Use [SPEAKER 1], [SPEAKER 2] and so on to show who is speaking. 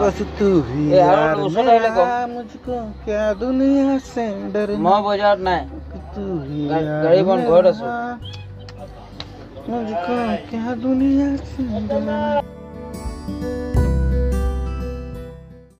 [SPEAKER 1] बस तू ही
[SPEAKER 2] ए, यार,
[SPEAKER 1] यार
[SPEAKER 2] उसको
[SPEAKER 1] मेरा,
[SPEAKER 2] डायलॉग हो।
[SPEAKER 1] मुझको क्या दुनिया से डर
[SPEAKER 2] मो बजार नाही
[SPEAKER 1] तू ही
[SPEAKER 2] गा-
[SPEAKER 1] यार
[SPEAKER 2] गाडी पण घर असो.
[SPEAKER 1] मेरा, मुझको क्या दुनिया से डर